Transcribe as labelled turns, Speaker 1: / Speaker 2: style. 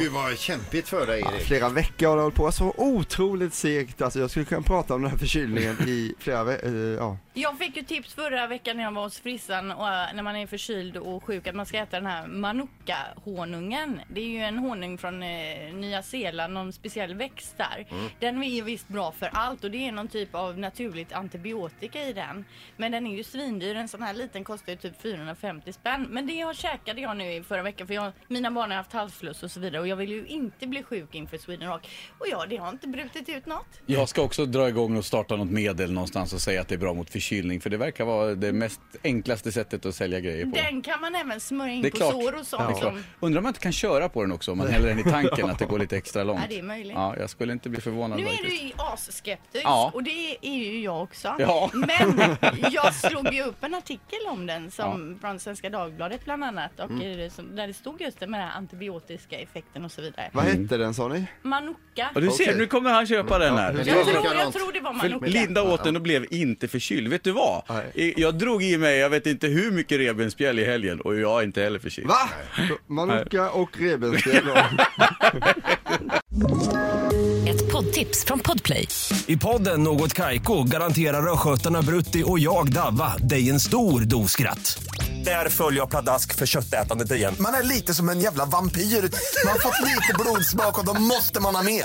Speaker 1: Gud vad kämpigt för dig
Speaker 2: Ja,
Speaker 1: Erik.
Speaker 2: flera veckor har det hållit på. Så otroligt segt. Alltså, jag skulle kunna prata om den här förkylningen i flera veckor. ja.
Speaker 3: Jag fick ju tips förra veckan när jag var hos frissan och eh, när man är förkyld och sjuk att man ska äta den här manuka-honungen. Det är ju en honung från eh, Nya Zeeland, någon speciell växt där.
Speaker 4: Mm.
Speaker 3: Den är ju visst bra för allt och det är någon typ av naturligt antibiotika i den. Men den är ju svindyr. En sån här liten kostar ju typ 450 spänn. Men det jag käkade jag nu i förra veckan för jag, mina barn har haft halsfluss och så vidare och jag vill ju inte bli sjuk inför Sweden Rock. Och ja, det har inte brutit ut något.
Speaker 4: Jag ska också dra igång och starta något medel någonstans och säga att det är bra mot förkylning. För det verkar vara det mest enklaste sättet att sälja grejer på.
Speaker 3: Den kan man även smörja in
Speaker 4: Det är
Speaker 3: på
Speaker 4: klart.
Speaker 3: sår och sånt.
Speaker 4: Det är klart.
Speaker 3: som...
Speaker 4: Undrar om man inte kan köra på den också, om man häller den i tanken, att det går lite extra långt.
Speaker 3: Ja, det är möjligt.
Speaker 4: Ja, jag skulle inte bli förvånad
Speaker 3: Nu är
Speaker 4: faktiskt.
Speaker 3: du ju asskeptisk
Speaker 4: Ja.
Speaker 3: och det är ju jag också.
Speaker 4: Ja.
Speaker 3: Men jag slog ju upp en artikel om den som från Svenska Dagbladet bland annat
Speaker 4: Mm.
Speaker 3: och eh, som, där det stod just det med den här antibiotiska effekten och så vidare.
Speaker 2: Vad hette den sa ni?
Speaker 3: Manuka.
Speaker 4: Ja, du ser,
Speaker 2: Okej.
Speaker 4: nu kommer han köpa den här.
Speaker 2: hur-
Speaker 3: Jag
Speaker 1: Det
Speaker 3: tror,
Speaker 1: var
Speaker 3: jag
Speaker 1: likadant.
Speaker 3: tror det var
Speaker 4: För
Speaker 3: Manuka.
Speaker 4: Linda åt den och blev inte förkyld. Vet du vad?
Speaker 2: Nej.
Speaker 4: Jag drog i mig, jag vet inte hur mycket revbensspjäll i helgen och jag är inte heller förkyld.
Speaker 2: Va? Manuka och revbensspjäll.
Speaker 5: Ett poddtips från Podplay.
Speaker 6: I podden Något Kaiko garanterar östgötarna Brutti och jag, Davva, dig en stor dos skratt. Där följer jag pladask för köttätandet igen.
Speaker 7: Man är lite som en jävla vampyr. Man har fått lite blodsmak och då måste man ha mer.